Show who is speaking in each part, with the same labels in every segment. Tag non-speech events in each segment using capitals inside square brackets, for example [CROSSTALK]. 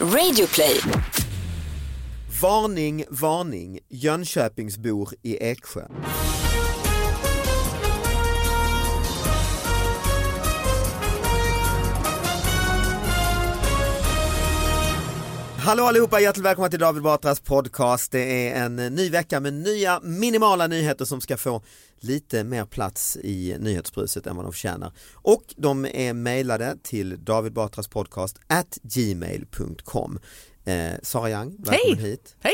Speaker 1: Radioplay.
Speaker 2: Varning, varning, Jönköpingsbor i Eksjö. Hallå allihopa, hjärtligt välkomna till David Batras podcast. Det är en ny vecka med nya minimala nyheter som ska få lite mer plats i nyhetsbruset än vad de förtjänar. Och de är mejlade till David Batras podcast at gmail.com. Eh, Sara Young, välkommen
Speaker 3: Hej!
Speaker 2: hit.
Speaker 3: Hej!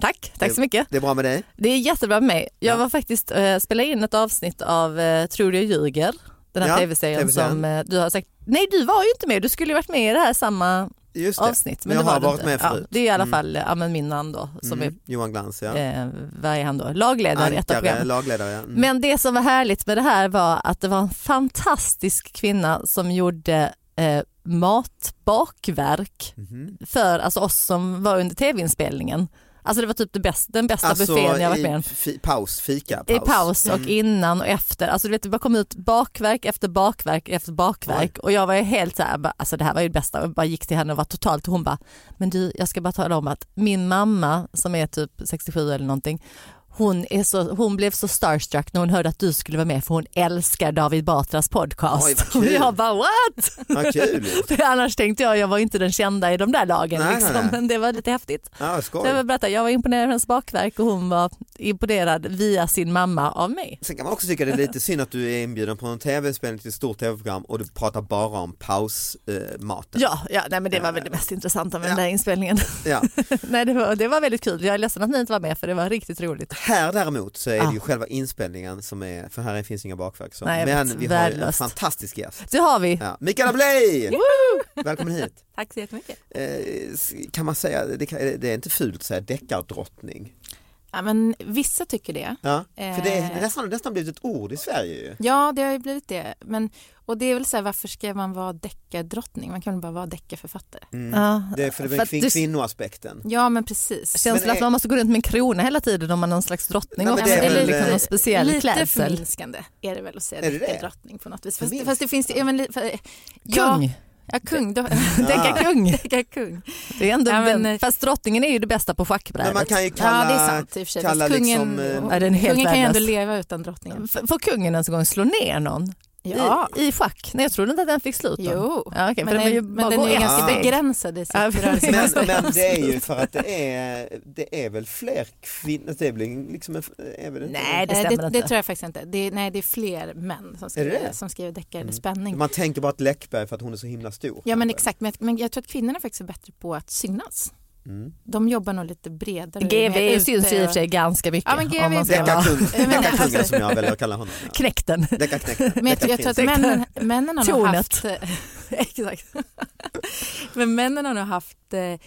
Speaker 3: Tack, tack så mycket.
Speaker 2: Det är bra med dig?
Speaker 3: Det är jättebra med mig. Jag
Speaker 2: Ja.
Speaker 3: var faktiskt, eh, spelade in ett avsnitt av eh, Tror du jag ljuger? Den här
Speaker 2: Ja,
Speaker 3: tv-serien
Speaker 2: TV-serien.
Speaker 3: som eh, du har sagt, nej du var ju inte med, du skulle ju varit med i det här samma
Speaker 2: Just det.
Speaker 3: avsnitt. Men
Speaker 2: jag
Speaker 3: det var
Speaker 2: har
Speaker 3: du
Speaker 2: varit
Speaker 3: inte.
Speaker 2: med
Speaker 3: ja,
Speaker 2: förut.
Speaker 3: Det är i alla
Speaker 2: Mm.
Speaker 3: fall eh, ja, men min man då, som
Speaker 2: Mm, Johan Glans, ja.
Speaker 3: är, eh, vad är han då, lagledare i ett av
Speaker 2: Ankare,
Speaker 3: programmen.
Speaker 2: lagledare. ja. Mm.
Speaker 3: Men det som var härligt med det här var att det var en fantastisk kvinna som gjorde eh, matbakverk
Speaker 2: Mhm.
Speaker 3: för alltså, oss som var under tv-inspelningen. Alltså det var typ det bäst, den bästa buffén jag varit med om.
Speaker 2: Alltså, i fi, paus, fika,
Speaker 3: I
Speaker 2: paus.
Speaker 3: paus och
Speaker 2: Mm.
Speaker 3: innan och efter. Alltså du vet det bara kom ut bakverk efter bakverk efter bakverk och jag var ju helt så här, bara, alltså det här var ju det bästa och jag bara gick till henne och var totalt och hon bara, men du jag ska bara tala om att min mamma som är typ 67 eller någonting hon, är så, hon blev så starstruck när hon hörde att du skulle vara med för hon älskar David Batras podcast.
Speaker 2: Oj, vad
Speaker 3: [LAUGHS] och
Speaker 2: kul.
Speaker 3: jag bara what?
Speaker 2: [LAUGHS]
Speaker 3: [LAUGHS]
Speaker 2: Vad kul.
Speaker 3: För annars tänkte jag, jag var inte den kända i de där lagen
Speaker 2: Nej, nej,
Speaker 3: liksom,
Speaker 2: nej.
Speaker 3: men det var lite häftigt.
Speaker 2: Ja, vad
Speaker 3: Så jag,
Speaker 2: skoj.
Speaker 3: vill berätta, jag var imponerad av hennes bakverk och hon var imponerad via sin mamma av mig.
Speaker 2: Sen kan man också tycka
Speaker 3: [LAUGHS]
Speaker 2: det är lite synd att du är inbjuden på en tv-spelning till ett stort tv-program och du pratar bara om pausmaten. Eh, maten.
Speaker 3: Ja, ja nej, men det var väl det mest intressanta med den där inspelningen. [LAUGHS]
Speaker 2: ja.
Speaker 3: Eh. nej, det, var, det var väldigt kul. Jag är ledsen att ni inte var med för det var riktigt roligt.
Speaker 2: Här däremot så är det
Speaker 3: Ja.
Speaker 2: ju själva inspelningen som är, för här finns inga bakverk. Så.
Speaker 3: Ah. Nej, jag
Speaker 2: Men
Speaker 3: vet.
Speaker 2: vi har ju en
Speaker 3: Värdelöst.
Speaker 2: fantastisk gäst.
Speaker 3: Det har vi.
Speaker 2: Ja. Mikaela Bley! Välkommen hit.
Speaker 4: Tack så jättemycket.
Speaker 2: Eh, s- kan man säga, det, kan, det är inte fult att säga deckardrottning.
Speaker 4: Ja, men vissa tycker det.
Speaker 2: Ja, för det är
Speaker 4: Eh.
Speaker 2: nästan, nästan blivit ett ord i Sverige ju.
Speaker 4: Ja, det har ju blivit det. Men, och det är väl så här, varför ska man vara deckardrottning? Man kan väl bara vara deckarförfattare?
Speaker 3: Ja.
Speaker 2: Mm. Det är för det
Speaker 3: För
Speaker 2: är
Speaker 3: att
Speaker 2: kvin-
Speaker 3: du-
Speaker 2: kvinnoaspekten.
Speaker 4: Ja, men precis.
Speaker 3: Känslan
Speaker 2: Men är-
Speaker 3: att man måste gå runt med en krona hela tiden om man är någon slags
Speaker 2: Nej,
Speaker 3: drottning
Speaker 2: men
Speaker 3: också.
Speaker 2: det är
Speaker 3: Det är
Speaker 2: väl-
Speaker 3: liksom någon speciell
Speaker 4: lite
Speaker 3: klädsel.
Speaker 4: förminskande är det väl att säga
Speaker 2: Är det det?
Speaker 4: deckardrottning på något vis. Fast,
Speaker 2: Förminskande?
Speaker 4: fast det finns ju... Ja, men, li- för, Ja,
Speaker 3: Kung,
Speaker 4: ja, kung. Då,
Speaker 3: deckarkung.
Speaker 4: [LAUGHS] deckarkung.
Speaker 3: Det är ändå
Speaker 4: Ja, men-
Speaker 3: den, fast drottningen är ju det bästa på
Speaker 2: Men man
Speaker 3: schackbrädet.
Speaker 2: kan ju
Speaker 4: Ja,
Speaker 2: kalla,
Speaker 4: det är sant i och för sig.
Speaker 2: kalla
Speaker 4: Fast kungen,
Speaker 2: liksom, eh,
Speaker 3: Ja, den är helt
Speaker 4: kungen kan ju ändå
Speaker 3: värdelös.
Speaker 4: leva utan drottningen.
Speaker 3: F- Får kungen ens en gång slå ner någon
Speaker 4: Ja,
Speaker 3: i, i schack? Nej, jag trodde inte att den fick slut. då.
Speaker 4: jo.
Speaker 3: Ja, okej,
Speaker 4: Men,
Speaker 3: för den, var ju
Speaker 4: den,
Speaker 3: bara
Speaker 4: men den
Speaker 3: gå
Speaker 4: är ju
Speaker 3: ett
Speaker 4: ganska
Speaker 3: steg.
Speaker 4: begränsad i sitt
Speaker 3: Ja,
Speaker 4: rörelsemönster.
Speaker 2: men, men det är ju för att det är, det är väl fler kvinnor, det är väl liksom en, är väl inte-
Speaker 3: Nej, det
Speaker 4: Eh,
Speaker 3: stämmer
Speaker 4: det,
Speaker 3: inte.
Speaker 4: det tror jag faktiskt inte. Det är, nej, det är fler män som
Speaker 2: Är det
Speaker 4: skriver,
Speaker 2: det?
Speaker 4: som skriver deckare.
Speaker 2: Mm.
Speaker 4: Spänning.
Speaker 2: Man tänker bara att Läckberg för att hon är så himla stor.
Speaker 4: Ja, men
Speaker 2: kanske.
Speaker 4: exakt. Men, jag- men jag tror att kvinnorna faktiskt är bättre på att synas.
Speaker 2: Mm.
Speaker 4: De jobbar nog lite bredare. mer
Speaker 3: GV
Speaker 4: ute
Speaker 3: syns ju i och
Speaker 4: och-
Speaker 3: för sig ganska mycket.
Speaker 4: Alltså, Ja, men GV
Speaker 3: om man ska
Speaker 4: är bra.
Speaker 3: vara
Speaker 2: Deckarkung,
Speaker 4: [LAUGHS] men- alltså-
Speaker 2: deckarkungen som jag väljer att kalla honom. Ja.
Speaker 3: knäckten.
Speaker 4: Typ
Speaker 2: Deckarknäckten,
Speaker 4: Men jag, tror- jag tror att
Speaker 2: deckarprinsen.
Speaker 4: männen, männen har nog
Speaker 3: Tornet.
Speaker 4: haft... [LAUGHS] exakt. men männen har nog haft eh, eh,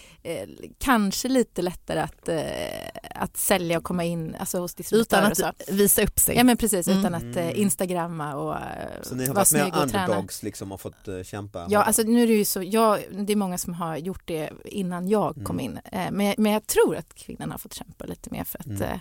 Speaker 4: kanske lite lättare att, eh, att sälja och komma in alltså, hos
Speaker 3: [LAUGHS] Utan
Speaker 4: distributörer och så.
Speaker 3: att visa upp sig.
Speaker 4: Ja men precis,
Speaker 3: Mm.
Speaker 4: utan att eh, instagramma och eh,
Speaker 2: Så ni har
Speaker 4: vara [LAUGHS]
Speaker 2: varit
Speaker 4: snygg
Speaker 2: med
Speaker 4: och träna.
Speaker 2: underdogs liksom och fått eh, kämpa?
Speaker 4: Ja, alltså nu är det ju så, jag, det är många som har gjort det innan jag kom
Speaker 2: Mm.
Speaker 4: in. Eh, Men, jag- men jag tror att kvinnorna har fått kämpa lite mer för att,
Speaker 2: Mm.
Speaker 4: eh,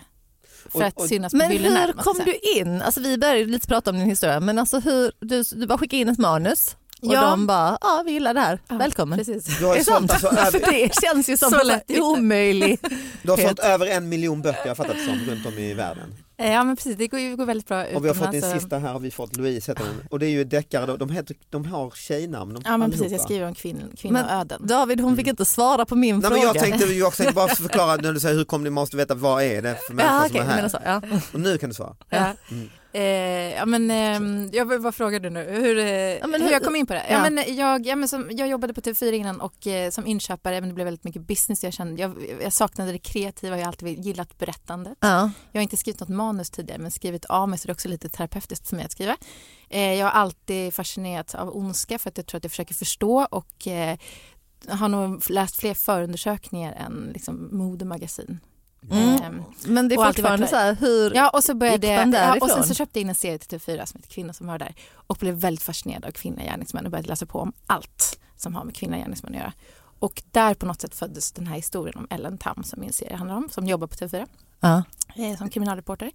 Speaker 4: för
Speaker 2: Och-
Speaker 4: att
Speaker 2: och-
Speaker 4: synas på
Speaker 3: Men
Speaker 4: hyllorna.
Speaker 3: hur
Speaker 4: om man ska
Speaker 3: kom
Speaker 4: säga.
Speaker 3: du in? Alltså, vi började lite prata om din historia, men alltså, hur, du, du bara skickade in ett manus och
Speaker 4: Ja.
Speaker 3: de bara, ja vi gillar det här,
Speaker 4: Ja,
Speaker 3: välkommen.
Speaker 4: Precis.
Speaker 2: du har,
Speaker 3: Är
Speaker 2: ju
Speaker 3: det
Speaker 2: sålt,
Speaker 3: sant?
Speaker 2: alltså,
Speaker 4: [LAUGHS]
Speaker 3: För
Speaker 2: över,
Speaker 3: det känns ju som
Speaker 4: Så
Speaker 3: en
Speaker 4: lätt gick det.
Speaker 3: omöjlig.
Speaker 4: [LAUGHS]
Speaker 2: du har sålt över en miljon böcker jag har fattat det som runt om i världen.
Speaker 4: Eh, Ja, men precis, det går ju går väldigt bra
Speaker 2: Och vi har fått din
Speaker 4: utomlands och-
Speaker 2: sista här har vi fått Louise heter hon. Och det är ju deckare, då. de, heter, de har tjejnamn. De,
Speaker 4: Ja, men
Speaker 2: allihopa.
Speaker 4: precis, jag skriver om kvinn, kvinnoöden.
Speaker 3: David hon fick inte svara på min
Speaker 2: Nej, men
Speaker 3: fråga.
Speaker 2: jag tänkte ju också bara förklara när du säger hur kom ni måste veta vad är det för människor
Speaker 3: ja,
Speaker 2: som
Speaker 3: okej,
Speaker 2: är
Speaker 3: du
Speaker 2: här.
Speaker 3: menar så, ja.
Speaker 4: Mm.
Speaker 2: Och nu kan du svara.
Speaker 4: Ja.
Speaker 2: Mm.
Speaker 4: Eh, ja, men, ehm, jag vill bara fråga dig nu hur, eh,
Speaker 3: men
Speaker 4: hur
Speaker 3: hur-
Speaker 4: jag kom in på det. Ja.
Speaker 3: ja.
Speaker 4: men eh, jag, ja, men som, jag jobbade på TV4 innan och eh, som inköpare, men det blev väldigt mycket business. Jag, kände, jag, jag saknade det kreativa, jag har alltid gillat berättande.
Speaker 3: Ja.
Speaker 4: Jag har inte skrivit något manus tidigare men skrivit av mig så det är också lite terapeutiskt för mig att skriva. Eh, jag har alltid fascinerats av ondska för att jag tror att jag försöker förstå och eh, har nog läst fler förundersökningar än liksom, modemagasin.
Speaker 3: Mm.
Speaker 4: Eh,
Speaker 3: Men det är
Speaker 4: Och alltid
Speaker 3: fortfarande
Speaker 4: varit
Speaker 3: så här, hur,
Speaker 4: Ja, och så började
Speaker 3: Gick den
Speaker 4: ja, och sen
Speaker 3: därifrån?
Speaker 4: så köpte jag in en serie till TV4 som heter Kvinnor som mördar och blev väldigt fascinerad av kvinnliga gärningsmän och började läsa på om allt som har med kvinnliga gärningsmän att göra. Och där på något sätt föddes den här historien om Ellen Tam som min serie handlar om, som jobbar på TV4
Speaker 3: ja.
Speaker 4: eh, som kriminalreporter.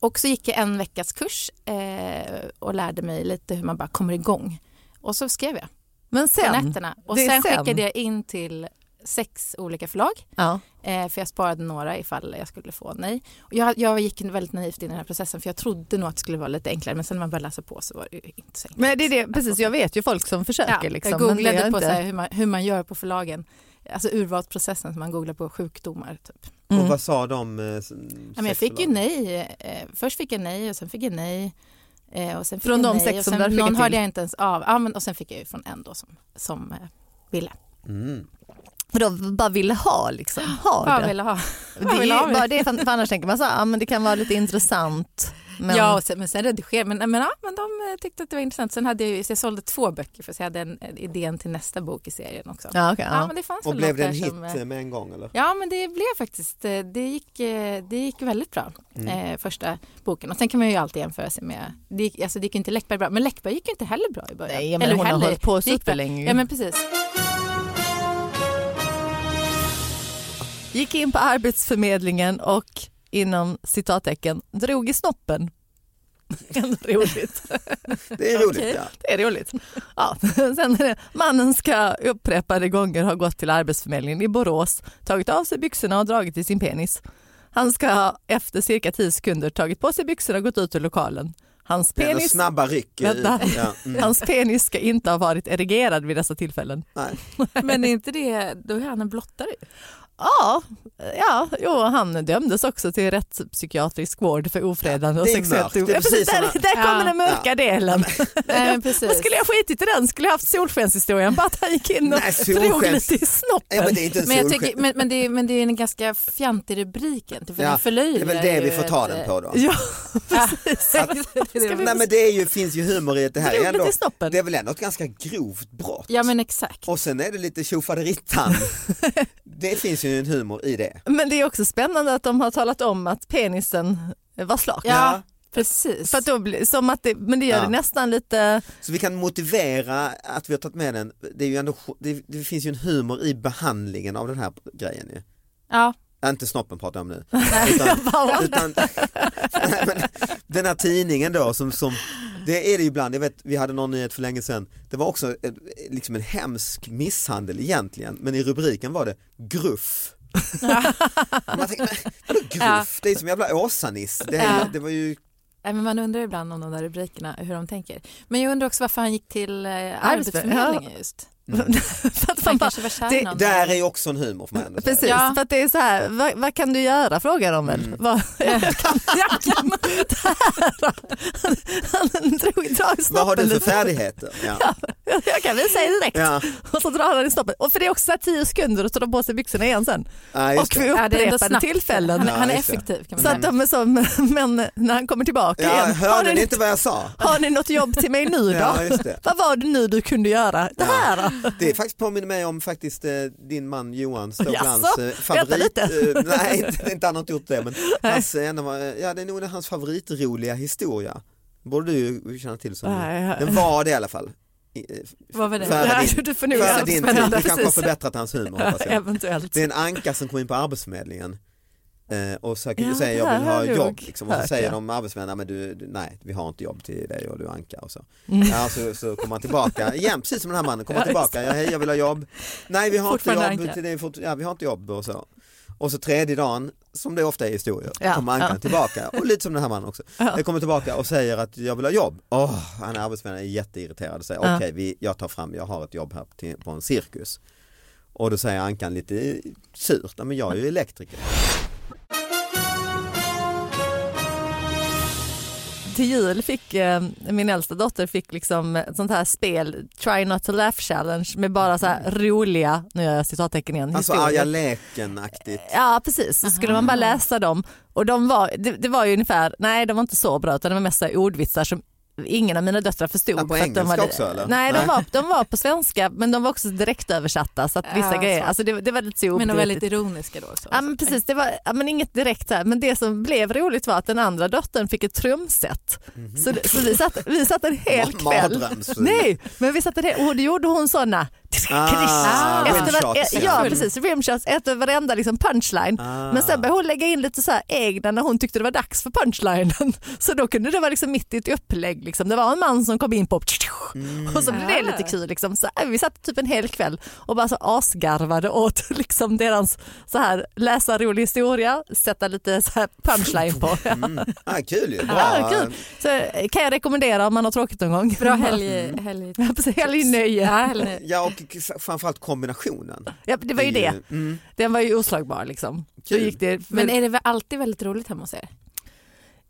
Speaker 4: Och så gick jag en veckas kurs eh, och lärde mig lite hur man bara kommer igång. Och så skrev jag
Speaker 3: Men
Speaker 4: på
Speaker 3: sen,
Speaker 4: nätterna. Och
Speaker 3: Det är
Speaker 4: sen,
Speaker 3: sen.
Speaker 4: skickade jag in till sex olika förlag.
Speaker 3: Ja.
Speaker 4: Eh, för jag sparade några ifall jag skulle få nej. Och jag, jag gick väldigt naivt in i den här processen för jag trodde nog att det skulle vara lite enklare men sen när man började läsa på så var det ju inte så enkelt.
Speaker 3: Men det är det, precis, jag vet ju folk som försöker. liksom,
Speaker 4: jag
Speaker 3: men det
Speaker 4: googlade
Speaker 3: gör
Speaker 4: på
Speaker 3: inte-
Speaker 4: så här, hur, man, hur man gör på förlagen. Alltså urvalsprocessen som man googlar på sjukdomar. Typ.
Speaker 3: Mm.
Speaker 2: Och vad sa de? eh, s-
Speaker 4: Ja, men jag fick ju
Speaker 2: sexbolagen?
Speaker 4: nej. Eh, Först fick jag nej och sen fick jag nej. Eh, Och sen fick
Speaker 3: Från
Speaker 4: jag
Speaker 3: de
Speaker 4: nej,
Speaker 3: sex
Speaker 4: och
Speaker 3: som
Speaker 4: sen,
Speaker 3: du hade skickat
Speaker 4: Någon
Speaker 3: till?
Speaker 4: hörde jag inte ens av. Ja, men, och sen fick jag ju från en då som, som eh, ville.
Speaker 2: Mm.
Speaker 3: För de bara ville ha liksom, ha
Speaker 4: Ja,
Speaker 3: det.
Speaker 4: ville ha.
Speaker 3: Det
Speaker 4: Jag
Speaker 3: är
Speaker 4: vill ha
Speaker 3: ju
Speaker 4: det.
Speaker 3: bara det, för för annars tänker man så här, ah, men det kan vara lite intressant. Men,
Speaker 4: Ja, och sen, men sen redigerade men, men, ja, men de eh, tyckte att det var intressant. Sen hade jag ju, så jag sålde två böcker för så jag hade en, en idén till nästa bok i serien också. Ja,
Speaker 3: ja, okej, ja.
Speaker 4: men det fanns
Speaker 2: Och
Speaker 4: väl
Speaker 2: blev
Speaker 4: något
Speaker 2: det en
Speaker 4: där
Speaker 2: hit
Speaker 4: som, eh,
Speaker 2: eh, med en gång
Speaker 4: [LAUGHS]
Speaker 2: eller?
Speaker 4: Ja, men det blev faktiskt, eh, det gick, eh, det gick väldigt bra,
Speaker 2: Mm.
Speaker 4: eh, första boken. Och sen kan man ju alltid jämföra sig med, det gick, alltså det gick ju inte Läckberg bra, men Läckberg gick ju inte heller bra i början.
Speaker 3: Nej, men
Speaker 4: Eller
Speaker 3: hon har
Speaker 4: heller-
Speaker 3: hållit på
Speaker 4: det gick bra.
Speaker 3: superlänge.
Speaker 4: Ja, men precis.
Speaker 3: Gick in på Arbetsförmedlingen och inom citattecken drog i snoppen. Ändå [LAUGHS] roligt.
Speaker 2: Det är roligt
Speaker 4: Okej.
Speaker 2: ja.
Speaker 3: Det är roligt. Ja. [LAUGHS] Sen är det, mannen ska upprepade gånger ha gått till Arbetsförmedlingen i Borås, tagit av sig byxorna och dragit i sin penis. Han ska ha efter cirka 10 sekunder tagit på sig byxorna och gått ut ur lokalen. Hans
Speaker 2: Det är ändå
Speaker 3: penis,
Speaker 2: snabba ryck. eh,
Speaker 3: Vänta.
Speaker 2: ut. Ja. Mm.
Speaker 3: hans penis ska inte ha varit erigerad vid dessa tillfällen.
Speaker 2: Nej.
Speaker 4: [LAUGHS] [LAUGHS] Men är inte det, då är han en blottare.
Speaker 3: Ja, ja jo, han dömdes också till rättspsykiatrisk vård för ofredande och
Speaker 2: Det är
Speaker 3: sexuellt
Speaker 2: mörkt, det är
Speaker 3: Ja, precis,
Speaker 2: precis
Speaker 3: Där,
Speaker 2: såna-
Speaker 3: där kommer
Speaker 4: Ja.
Speaker 3: den mörka delen.
Speaker 4: Nej, [LAUGHS] men
Speaker 3: Vad
Speaker 4: precis.
Speaker 3: skulle jag skitit i den? Skulle jag haft solskenshistorien? Bara att han gick in och
Speaker 2: Nej,
Speaker 3: drog
Speaker 2: solskens-
Speaker 3: lite i snoppen.
Speaker 2: Ja, men det är inte en
Speaker 4: Men, jag
Speaker 2: solsken.
Speaker 4: tycker, men, men, det, är- men det är en ganska fjantig rubrik egentligen, för
Speaker 2: Ja,
Speaker 4: den
Speaker 2: Det är
Speaker 4: förlöjligar
Speaker 2: väl det vi
Speaker 4: ju
Speaker 2: får ta
Speaker 4: ett,
Speaker 2: den
Speaker 4: eh,
Speaker 2: på då.
Speaker 3: Ja,
Speaker 4: [LAUGHS] Ja.
Speaker 3: precis.
Speaker 4: Ska vi-
Speaker 2: Nej men det är ju, finns ju humor i att det här
Speaker 3: Drog
Speaker 2: är
Speaker 3: lite
Speaker 2: ändå,
Speaker 3: i snoppen.
Speaker 2: det är väl ändå ett ganska grovt brott.
Speaker 4: Ja men exakt.
Speaker 2: Och sen är det lite
Speaker 4: [LAUGHS]
Speaker 2: tjofaderittan. det finns ju en humor i det.
Speaker 3: Men det är också spännande att de har talat om att penisen var slak.
Speaker 4: Ja, precis.
Speaker 3: För att då, blir- som att det, men det gör
Speaker 2: Ja.
Speaker 3: det nästan lite...
Speaker 2: Så vi kan motivera att vi har tagit med den, det, är ju ändå, det, det finns ju en humor i behandlingen av den här grejen ju.
Speaker 4: ja.
Speaker 2: Ja, Inte snoppen pratar jag om nu. Utan, [LAUGHS] utan, Nej, men den här tidningen då som, som det är det ju ibland, jag vet vi hade någon nyhet för länge sedan, det var också eh, liksom en hemsk misshandel egentligen men i rubriken var det gruff. Man tänker, men vadå gruff?
Speaker 4: Ja.
Speaker 2: Det är som jävla Åsa-Niss. Det, är-
Speaker 4: Ja.
Speaker 2: det var ju
Speaker 4: Nej, men man undrar ibland om de där rubrikerna, hur de tänker. Men jag undrar också varför han gick till eh, Arbetsförmedlingen just.
Speaker 2: Mm.
Speaker 3: [LAUGHS] för att man
Speaker 4: Han
Speaker 3: bara,
Speaker 4: kanske var kär
Speaker 3: det-
Speaker 4: i någon.
Speaker 2: Där är ju också en humor får man ändå säga.
Speaker 3: Precis,
Speaker 4: Ja.
Speaker 3: för att det är så här, vad, vad kan du göra frågar de
Speaker 2: Mm.
Speaker 3: väl. Vad, [LAUGHS] jag kan, jag
Speaker 2: [LAUGHS]
Speaker 3: kan det här. Han, han drog i drag i
Speaker 2: Vad har
Speaker 3: snoppen
Speaker 2: du för
Speaker 3: lite.
Speaker 2: färdigheter? Ja.
Speaker 3: Jag kan väl säga
Speaker 2: [LAUGHS]
Speaker 3: direkt.
Speaker 2: Ja.
Speaker 3: Och så drar han i snoppen. Och för det är också så här tio sekunder och så tar de på sig byxorna igen sen.
Speaker 2: Ja, just
Speaker 3: och
Speaker 2: det.
Speaker 3: vid
Speaker 4: Ja, det är ändå
Speaker 3: upprepade
Speaker 4: snabbt.
Speaker 3: tillfällen.
Speaker 4: Han,
Speaker 2: Ja,
Speaker 4: han är
Speaker 2: just det.
Speaker 4: effektiv kan man
Speaker 3: Så att
Speaker 4: säga.
Speaker 3: de är så, men när han kommer tillbaka
Speaker 2: ja,
Speaker 3: igen. Har
Speaker 2: hörde
Speaker 3: ni,
Speaker 2: ni inte vad jag sa?
Speaker 3: har ni något jobb till mig nu då?
Speaker 2: Ja, just
Speaker 3: [LAUGHS]
Speaker 2: det.
Speaker 3: Vad var det nu du kunde göra? Det
Speaker 2: Ja.
Speaker 3: här då?
Speaker 2: Det är faktiskt påminner mig om faktiskt eh, din man Johan Ståblands
Speaker 3: Jaså?
Speaker 2: eh, favorit.
Speaker 3: Berätta
Speaker 2: Eh, nej,
Speaker 3: [LAUGHS]
Speaker 2: inte, inte han har inte gjort det men hans, eh, en av, eh, ja, det är nog hans favoritroliga historia. Borde du ju känna till som
Speaker 3: Nej, ja.
Speaker 2: Den var det i alla fall. I- eh,
Speaker 4: Vad var det?
Speaker 2: Före
Speaker 3: Ja,
Speaker 2: din,
Speaker 3: du får nog
Speaker 2: före
Speaker 3: göra
Speaker 2: din
Speaker 3: det.
Speaker 2: tid, du
Speaker 3: Ja,
Speaker 2: kanske har
Speaker 3: precis.
Speaker 2: förbättrat hans humor hoppas jag.
Speaker 3: [LAUGHS] Eventuellt.
Speaker 2: Det är en anka som kommer in på Arbetsförmedlingen eh, och söker,
Speaker 3: Ja,
Speaker 2: säger
Speaker 3: det här
Speaker 2: jag vill
Speaker 3: har
Speaker 2: ha
Speaker 3: jag
Speaker 2: jobb.
Speaker 3: nog
Speaker 2: Liksom. Och så
Speaker 3: hört,
Speaker 2: säger
Speaker 3: ja.
Speaker 2: de Arbetsförmedlingen, "Nej, men du, du, nej vi har inte jobb till dig och du är anka och så. Ja, så, så kommer han tillbaka, igen precis som den här mannen, kommer
Speaker 3: Mm. Ja,
Speaker 2: tillbaka, ja, hej jag vill ha jobb. Nej vi har inte
Speaker 4: Fortfarande
Speaker 2: jobb
Speaker 4: anka.
Speaker 2: till dig, fort, ja, vi har inte jobb och så. Och så tredje dagen, som det ofta är i historier,
Speaker 3: Ja,
Speaker 2: kommer ankan
Speaker 3: ja.
Speaker 2: tillbaka och lite som den här mannen också.
Speaker 3: Ja.
Speaker 2: Jag kommer tillbaka och säger att jag vill ha jobb. Åh, han är arbetsförmedlare, är jätteirriterad och säger
Speaker 3: Ja.
Speaker 2: okej vi jag tar fram, jag har ett jobb här till, på en cirkus. Och då säger Ankan lite surt, "Ja, men jag är ju elektriker.
Speaker 3: Till jul fick eh, min äldsta dotter fick liksom ett sånt här spel, Try Not To Laugh Challenge med bara så här roliga, nu gör jag citattecken igen,
Speaker 2: Alltså arga leken-aktigt.
Speaker 3: Ja precis, så skulle man bara läsa dem och de var, det, det var ju ungefär, nej de var inte så bra utan det var mest så här ordvitsar som ingen av mina döttrar förstod.
Speaker 2: Ja, på
Speaker 3: för att de
Speaker 2: engelska
Speaker 3: hade,
Speaker 2: också, eller?
Speaker 3: Nej, De,
Speaker 2: Nej.
Speaker 3: var, de var på svenska men de var också direktöversatta så att vissa
Speaker 4: Ja,
Speaker 3: grejer,
Speaker 4: så.
Speaker 3: alltså det, det var lite så
Speaker 4: [LAUGHS] Men de var
Speaker 3: obegripligt.
Speaker 4: lite ironiska då också.
Speaker 3: Ja, men precis, det var ja, men inget direkt så här. men det som blev roligt var att den andra dottern fick ett trumset. Så, det- så vi, satt, vi satt en hel
Speaker 2: Mhm. Ma-
Speaker 3: kväll.
Speaker 2: mardröms-
Speaker 3: Nej, men vi satt en hel, och då gjorde hon sådana
Speaker 2: Ah,
Speaker 3: Efter
Speaker 2: rimshots,
Speaker 3: var- eh, ja precis, rimshots efter varenda liksom punchline.
Speaker 2: Ah.
Speaker 3: Men sen började hon lägga in lite så här egna när hon tyckte det var dags för punchlinen. [LAUGHS] Så då kunde det vara liksom mitt i ett upplägg. Liksom. Det var en man som kom in på
Speaker 2: Mm.
Speaker 3: och så blev det lite kul. Liksom. Så, eh, vi satt typ en hel kväll och bara så asgarvade åt [LAUGHS] liksom, deras så här, läsa rolig historia, sätta lite så här punchline på.
Speaker 2: Mm. Ah, kul ju.
Speaker 3: [LAUGHS] Ja,
Speaker 2: Bra.
Speaker 3: kul. Så, eh, kan jag rekommendera om man har tråkigt någon gång. [LAUGHS]
Speaker 4: Bra helg... helg.
Speaker 3: Ja, precis, Helgnöje.
Speaker 4: Ja, helg.
Speaker 2: Ja, och f- framförallt kombinationen.
Speaker 3: Ja, det var ju det.
Speaker 2: Mm.
Speaker 3: Den var ju oslagbar liksom. Då
Speaker 2: Kul.
Speaker 3: gick det,
Speaker 4: Men är det väl alltid väldigt roligt hemma hos er?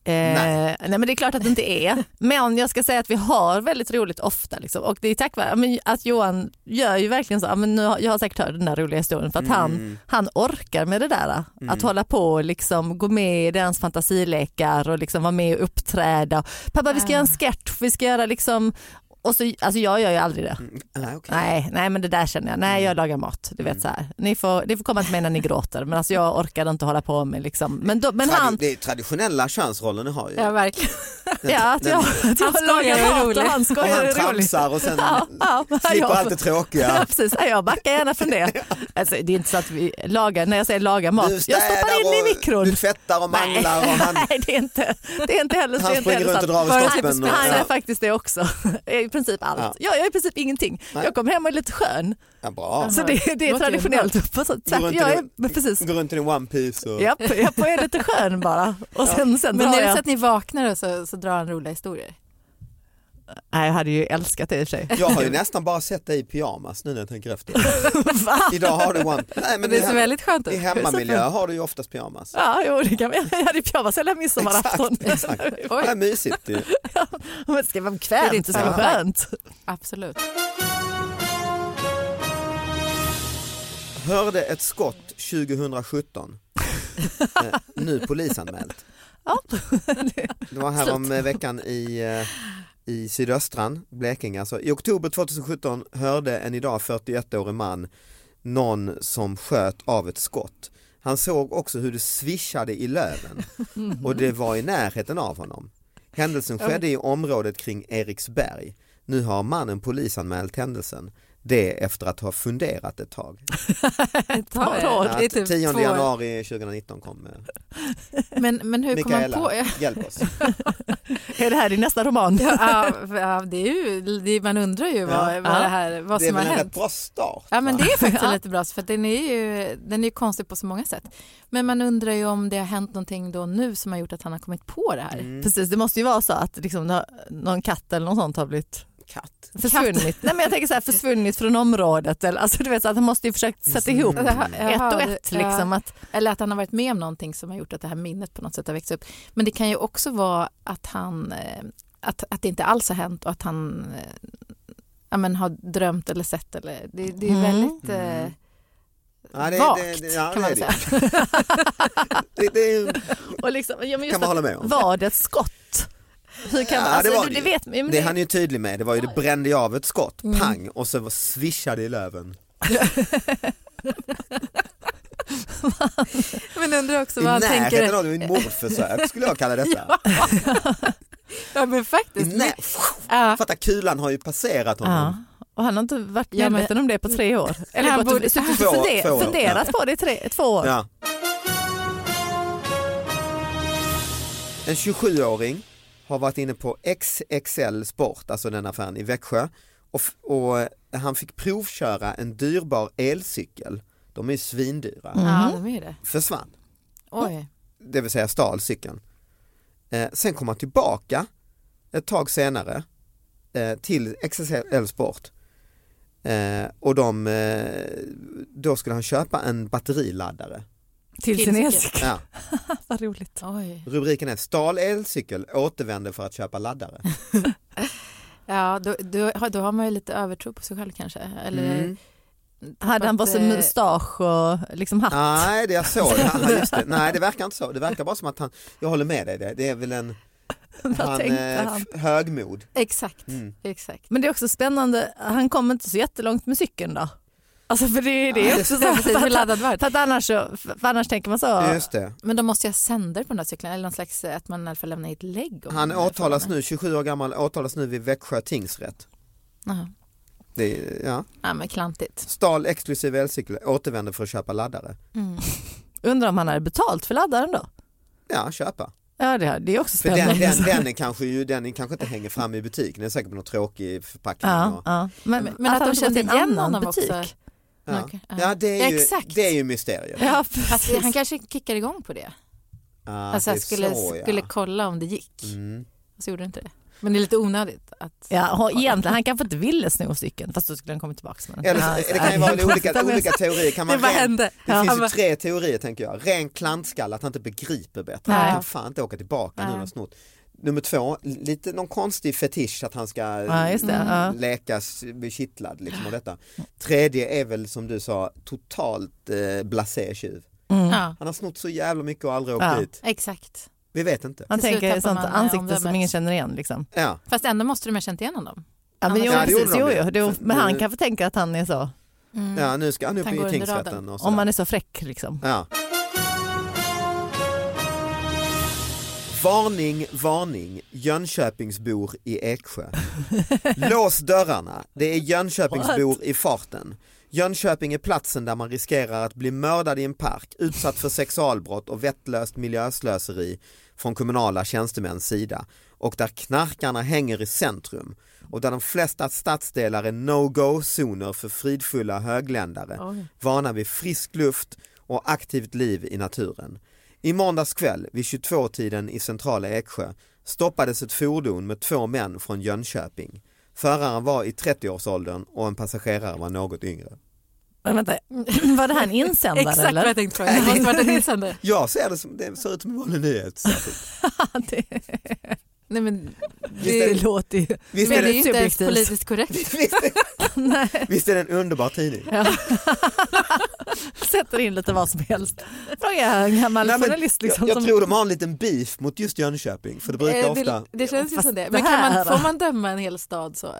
Speaker 3: Eh,
Speaker 2: Nej.
Speaker 3: nej. men det är klart att det inte är. Men jag ska säga att vi har väldigt roligt ofta. Liksom. Och det är tack vare ja, men att Johan gör ju verkligen så, ja, men nu har, jag har säkert hört den där roliga historien för att
Speaker 2: Mm.
Speaker 3: han, han orkar med det där. Att hålla på och liksom, gå med i deras fantasilekar och liksom, vara med och uppträda. Pappa
Speaker 4: Ah.
Speaker 3: vi ska göra en sketch, vi ska göra liksom och så, alltså jag gör ju aldrig det.
Speaker 2: Mm. Nej, okej. Mm.
Speaker 3: Nej, nej men det där känner jag, nej jag lagar mat. Du vet, så här. Ni, får, ni får komma till mig när ni gråter men alltså, jag orkar inte hålla på med liksom. men, då, men
Speaker 2: Tradi-
Speaker 3: han,
Speaker 2: Det är traditionella könsroller ni har ju.
Speaker 4: Ja, verkligen.
Speaker 3: Ja, att jag, att jag
Speaker 4: skojar
Speaker 3: lagar
Speaker 4: är
Speaker 3: mat
Speaker 4: roligt.
Speaker 3: och han
Speaker 2: och
Speaker 3: skojar
Speaker 2: han
Speaker 3: är roligt.
Speaker 2: tramsar och sen
Speaker 3: Ja, ja,
Speaker 2: slipper
Speaker 3: jag-
Speaker 2: allt det tråkiga.
Speaker 3: Ja, precis. Ja, jag backar gärna
Speaker 2: [LAUGHS]
Speaker 3: från det. Alltså, det är inte så att vi lagar, när jag säger laga mat,
Speaker 2: Du
Speaker 3: jag
Speaker 2: städar
Speaker 3: stoppar in
Speaker 2: och
Speaker 3: i mikron.
Speaker 2: Du tvättar och manglar och
Speaker 3: [LAUGHS]
Speaker 2: han,
Speaker 3: Nej, det är inte, det är inte heller det
Speaker 2: han
Speaker 3: är inte
Speaker 2: springer
Speaker 3: heller
Speaker 2: runt och
Speaker 3: sant.
Speaker 2: drar
Speaker 4: Bara
Speaker 2: i
Speaker 4: typ
Speaker 2: snoppen. och-
Speaker 4: Ja.
Speaker 3: Han är
Speaker 2: Ja.
Speaker 3: faktiskt det också. [LAUGHS] I princip allt.
Speaker 2: Ja.
Speaker 3: Ja. Jag gör i princip ingenting.
Speaker 2: Nej.
Speaker 3: Jag kommer hem och är lite skön.
Speaker 2: Ja, bra.
Speaker 3: Så det, det är
Speaker 4: Låter ju
Speaker 3: traditionellt. Så,
Speaker 2: Går
Speaker 3: tvärt,
Speaker 2: inte Mm.
Speaker 3: jag
Speaker 2: du-
Speaker 3: är, men precis.
Speaker 2: Går runt i din one piece och...
Speaker 3: Japp, japp, och är lite skön bara. Och sen, sen
Speaker 4: Men
Speaker 3: drar
Speaker 4: är det
Speaker 3: jag.
Speaker 4: så att ni vaknar och så, så drar han roliga historier?
Speaker 3: Nej, jag hade ju älskat det i och för sig.
Speaker 2: Jag har ju nästan bara sett dig i pyjamas nu när jag tänker efter.
Speaker 3: [LAUGHS] Va?
Speaker 2: Idag har du one Nej, men
Speaker 3: [LAUGHS]
Speaker 4: det
Speaker 2: i
Speaker 4: ser
Speaker 2: hem-
Speaker 4: väldigt skönt ut.
Speaker 2: I hemmamiljö har du ju oftast pyjamas.
Speaker 3: Ja, jo, det kan vi. Jag hade pyjamas hela midsommarafton.
Speaker 2: Exakt.
Speaker 3: [LAUGHS]
Speaker 2: Det är mysigt ju.
Speaker 3: Men det ska vara
Speaker 4: Det är
Speaker 3: bekvämt,
Speaker 4: inte
Speaker 3: det ska vara
Speaker 4: så.
Speaker 3: skönt. [LAUGHS]
Speaker 4: Absolut.
Speaker 2: Hörde ett skott 2017.
Speaker 3: [LAUGHS]
Speaker 2: Eh, nu polisanmält.
Speaker 3: Ja.
Speaker 2: Det var här om eh, veckan i, eh, i sydöstran, Blekinge. Alltså, I oktober 2017 hörde en idag 41-årig man någon som sköt av ett skott. Han såg också hur det svishade i
Speaker 4: [LAUGHS]
Speaker 2: löven och det var i närheten av honom. Händelsen skedde i området kring Eriksberg. Nu har mannen polisanmält händelsen. Det efter att ha funderat ett tag.
Speaker 3: Ta råd.
Speaker 2: Ja,
Speaker 4: Det är typ
Speaker 2: 10
Speaker 4: två-
Speaker 2: januari 2019 kom eh,
Speaker 4: Men, men hur kom han på?
Speaker 2: Mikaela, hjälp oss.
Speaker 3: Är det här din nästa roman?
Speaker 4: Ja, ja, det är ju, det, är- man undrar ju vad,
Speaker 2: Ja.
Speaker 4: vad, det här, [LAUGHS] vad
Speaker 2: Det är
Speaker 4: som har
Speaker 2: väl en rätt
Speaker 4: hänt.
Speaker 2: bra start?
Speaker 4: Ja men
Speaker 2: va?
Speaker 4: det är faktiskt lite bra för att den är ju den är ju konstig på så många sätt. Men man undrar ju om det har hänt någonting då nu som har gjort att han har kommit på det
Speaker 3: [LAUGHS]
Speaker 4: här.
Speaker 2: Mm.
Speaker 3: Precis, det måste ju vara så att liksom, nå- någon katt eller något sånt har blivit
Speaker 2: Katt.
Speaker 3: försvunnit. Nej, men jag tänker så här, försvunnit från området. Eller, alltså, du vet, så att han måste ju försökt sätta ihop
Speaker 4: Jaha,
Speaker 3: ett
Speaker 4: jaha,
Speaker 3: och
Speaker 4: det-
Speaker 3: ett. Liksom,
Speaker 4: ja.
Speaker 3: att,
Speaker 4: Eller att han har varit med om någonting som har gjort att det här minnet på något sätt har växt upp. Men det kan ju också vara att han eh, att, att det inte alls har hänt och att han eh, ja, men har drömt eller sett eller det, det är
Speaker 3: Mm.
Speaker 4: väldigt eh,
Speaker 2: Mm. Ja, det, det,
Speaker 4: vagt
Speaker 2: det, ja,
Speaker 4: kan
Speaker 2: det
Speaker 4: man
Speaker 2: är
Speaker 4: säga.
Speaker 2: det. Det, det
Speaker 3: [LAUGHS] och liksom, ja, men
Speaker 2: kan
Speaker 3: just
Speaker 2: man
Speaker 3: att,
Speaker 2: hålla med om.
Speaker 3: var det ett skott? Hur kan
Speaker 2: Ja,
Speaker 3: man, alltså,
Speaker 2: det var
Speaker 3: det,
Speaker 2: det ju.
Speaker 3: vet, ja, men
Speaker 2: Det
Speaker 3: det-
Speaker 2: är han ju tydlig med, det var ju det brände ju av ett skott,
Speaker 4: Mm.
Speaker 2: pang och så var- swishade i löven.
Speaker 4: Men undrar också
Speaker 2: I
Speaker 4: vad han
Speaker 2: närheten
Speaker 4: tänker.
Speaker 2: av det, ett mordförsök skulle jag kalla
Speaker 4: [LAUGHS]
Speaker 2: detta.
Speaker 4: Ja men
Speaker 2: I
Speaker 4: faktiskt.
Speaker 2: när...
Speaker 4: Ja.
Speaker 2: Fatta kulan har ju passerat
Speaker 3: Ja.
Speaker 2: honom.
Speaker 3: Och han har inte varit
Speaker 4: Ja, men-
Speaker 3: medveten om det på tre år. Eller
Speaker 4: Han
Speaker 3: gått
Speaker 4: borde-
Speaker 3: och, suttit
Speaker 2: Två-
Speaker 3: och funder,
Speaker 2: två år,
Speaker 3: funderat på det i tre, två år.
Speaker 2: Ja. En 27-åring har varit inne på XXL Sport, alltså den affären i Växjö och, f- och eh, han fick provköra en dyrbar elcykel. De är ju svindyra.
Speaker 4: Ja, de är ju det.
Speaker 2: Försvann.
Speaker 4: Oj.
Speaker 2: det vill säga stal cykeln. Eh, sen kom han tillbaka ett tag senare eh, till XXL Sport eh, och de, eh, då skulle han köpa en batteriladdare.
Speaker 3: Till sin
Speaker 4: Till
Speaker 3: elcykel.
Speaker 2: Ja,
Speaker 3: Vad roligt.
Speaker 4: Oj.
Speaker 2: rubriken är Stal elcykel återvände för att köpa laddare.
Speaker 4: Ja, då, då, har- då har man ju lite övertro på sig själv kanske. Eller,
Speaker 2: Mm.
Speaker 3: Hade han bara så
Speaker 4: eh,
Speaker 3: mustasch och liksom hatt?
Speaker 2: Nej, det jag
Speaker 4: [LAUGHS]
Speaker 2: såg. Ja, just det. Nej, det verkar inte så. Det verkar bara som att han, jag håller med dig, det, det är väl en
Speaker 3: Vad
Speaker 2: han,
Speaker 3: tänkte
Speaker 2: eh,
Speaker 3: han?
Speaker 2: f- högmod.
Speaker 4: Exakt,
Speaker 2: Mm.
Speaker 4: exakt.
Speaker 2: [LAUGHS]
Speaker 3: Men det är också spännande, han kom inte så jättelångt med cykeln då? Alltså för det är det
Speaker 2: Nej,
Speaker 3: är också. [LAUGHS]
Speaker 4: Ja,
Speaker 3: Så,
Speaker 4: precis,
Speaker 3: för,
Speaker 4: hur
Speaker 3: att,
Speaker 4: laddad var det?
Speaker 3: för, att annars, så- för annars tänker man så.
Speaker 2: Just det.
Speaker 4: Men de måste ju ha sänder på den där cykeln eller någon slags eh, att man i alla fall lämnar i ett lägg. om
Speaker 2: Han
Speaker 4: man är
Speaker 2: åtalas
Speaker 4: förvånad.
Speaker 2: nu, 27 år gammal, åtalas nu vid Växjö tingsrätt.
Speaker 4: Jaha.
Speaker 2: Det är, ja.
Speaker 4: Ja, men klantigt.
Speaker 2: Stal exklusiv elcykel, återvände för att köpa laddare.
Speaker 3: Undrar om han hade betalt för laddaren då?
Speaker 2: Ja, köpa.
Speaker 3: Ja det, det är också
Speaker 2: För den,
Speaker 3: spännande.
Speaker 2: den, den, är kanske ju, den är kanske inte hänger fram i butik, den är säkert på någon tråkig förpackning.
Speaker 3: ja,
Speaker 2: och,
Speaker 3: ja. Men,
Speaker 4: Men-
Speaker 3: men,
Speaker 4: men
Speaker 3: att,
Speaker 4: att de
Speaker 3: han
Speaker 4: kände
Speaker 3: köpte en
Speaker 4: igen
Speaker 3: annan
Speaker 4: honom också.
Speaker 3: butik.
Speaker 2: ja.
Speaker 4: Okej, ja.
Speaker 2: ja, det är ju,
Speaker 4: Exakt.
Speaker 2: det är ju mysteriet.
Speaker 3: Ja,
Speaker 4: Fast
Speaker 3: precis.
Speaker 4: han kanske kickar igång på det.
Speaker 2: Ja,
Speaker 4: alltså
Speaker 2: det är
Speaker 4: jag skulle,
Speaker 2: så, ja.
Speaker 4: skulle kolla om det gick.
Speaker 2: Mm.
Speaker 4: Och så gjorde det inte det. Men det är lite onödigt att...
Speaker 3: Ja, och egentligen, han kanske inte ville sno cykeln fast då skulle han kommit tillbaka med den.
Speaker 2: Eller,
Speaker 3: Ja,
Speaker 2: så- det kan ju vara
Speaker 3: [LAUGHS]
Speaker 2: olika, olika teorier. Kan
Speaker 3: Det
Speaker 2: man
Speaker 3: bara
Speaker 2: ren-
Speaker 3: hände.
Speaker 2: Det
Speaker 3: Ja.
Speaker 2: finns
Speaker 3: Han
Speaker 2: ju
Speaker 3: bara,
Speaker 2: tre teorier tänker jag. Ren klantskalle, att han inte begriper bättre.
Speaker 3: Nej.
Speaker 2: Han kan fan inte åka tillbaka nu när han har snott. Nummer två, lite någon konstig fetisch att han ska
Speaker 3: Ja, just det.
Speaker 2: mm,
Speaker 3: Ja.
Speaker 2: läkas, bli kittlad liksom och detta. Tredje är väl som du sa, totalt eh, blasé tjuv.
Speaker 3: Mm.
Speaker 4: Ja,
Speaker 2: Han har snott så jävla mycket och aldrig åkt
Speaker 3: Ja.
Speaker 2: dit.
Speaker 4: exakt.
Speaker 2: Vi vet inte.
Speaker 3: han
Speaker 4: Till slut
Speaker 3: tänker
Speaker 4: tappar
Speaker 3: sånt
Speaker 4: man, eh,
Speaker 3: ansikte som
Speaker 4: omdömet.
Speaker 3: ingen känner igen. Liksom.
Speaker 2: Ja.
Speaker 4: Fast ändå måste de ha känt igen honom.
Speaker 3: Ja, men
Speaker 4: Ja,
Speaker 3: jo,
Speaker 4: det
Speaker 2: gjorde
Speaker 3: precis,
Speaker 2: de
Speaker 3: jo,
Speaker 2: ju.
Speaker 3: jo, jo, men
Speaker 2: Nu-
Speaker 3: han kanske tänker att han är så, Mm.
Speaker 2: ja, nu ska han upp
Speaker 4: Han går
Speaker 2: i
Speaker 4: under
Speaker 2: tingsrätten.
Speaker 4: radarn.
Speaker 2: Och
Speaker 3: om
Speaker 2: sådär.
Speaker 3: man är så fräck liksom.
Speaker 2: Ja. Varning, varning, Jönköpingsbor i Eksjö. Lås dörrarna, det är Jönköpingsbor i farten. Jönköping är platsen där man riskerar att bli mördad i en park, utsatt för sexualbrott och vettlöst miljöslöseri från kommunala tjänstemäns sida och där knarkarna hänger i centrum och där de flesta stadsdelar är no-go-zoner för fridfulla högländare
Speaker 4: Oj.
Speaker 2: vana vid frisk luft och aktivt liv i naturen. I måndags kväll vid 22-tiden i centrala Eksjö stoppades ett fordon med två män från Jönköping. Föraren var i 30-årsåldern och en passagerare var något yngre.
Speaker 3: Men vänta, [LAUGHS] var det här en insändare
Speaker 4: [LAUGHS] Exakt vad
Speaker 3: eller?
Speaker 4: jag tänkte fråga. Det måste
Speaker 2: [LAUGHS]
Speaker 4: varit en insändare.
Speaker 2: Jag ser det som, det ser ut som en vanlig
Speaker 4: [LAUGHS]
Speaker 2: nyhet.
Speaker 3: [LAUGHS] det,
Speaker 4: Nej, men
Speaker 2: är
Speaker 4: det,
Speaker 3: det låter ju...
Speaker 2: Visst
Speaker 4: men
Speaker 2: är
Speaker 4: det är ju typ-
Speaker 2: det,
Speaker 4: inte ens
Speaker 3: subjektivt.
Speaker 4: politiskt
Speaker 2: [LAUGHS]
Speaker 4: korrekt. [LAUGHS]
Speaker 2: visst, är- visst är det en underbar tidning?
Speaker 3: Sätter in lite vad som helst. Fråga en gammal
Speaker 2: Nej, men
Speaker 3: journalist liksom.
Speaker 2: Jag, jag
Speaker 3: som-
Speaker 2: tror de har en liten beef mot just Jönköping för det brukar
Speaker 4: Eh,
Speaker 2: ofta...
Speaker 4: det, det känns ju
Speaker 3: Fast
Speaker 4: som det.
Speaker 3: det
Speaker 4: Men kan
Speaker 3: här-
Speaker 4: man, får man döma en hel stad så?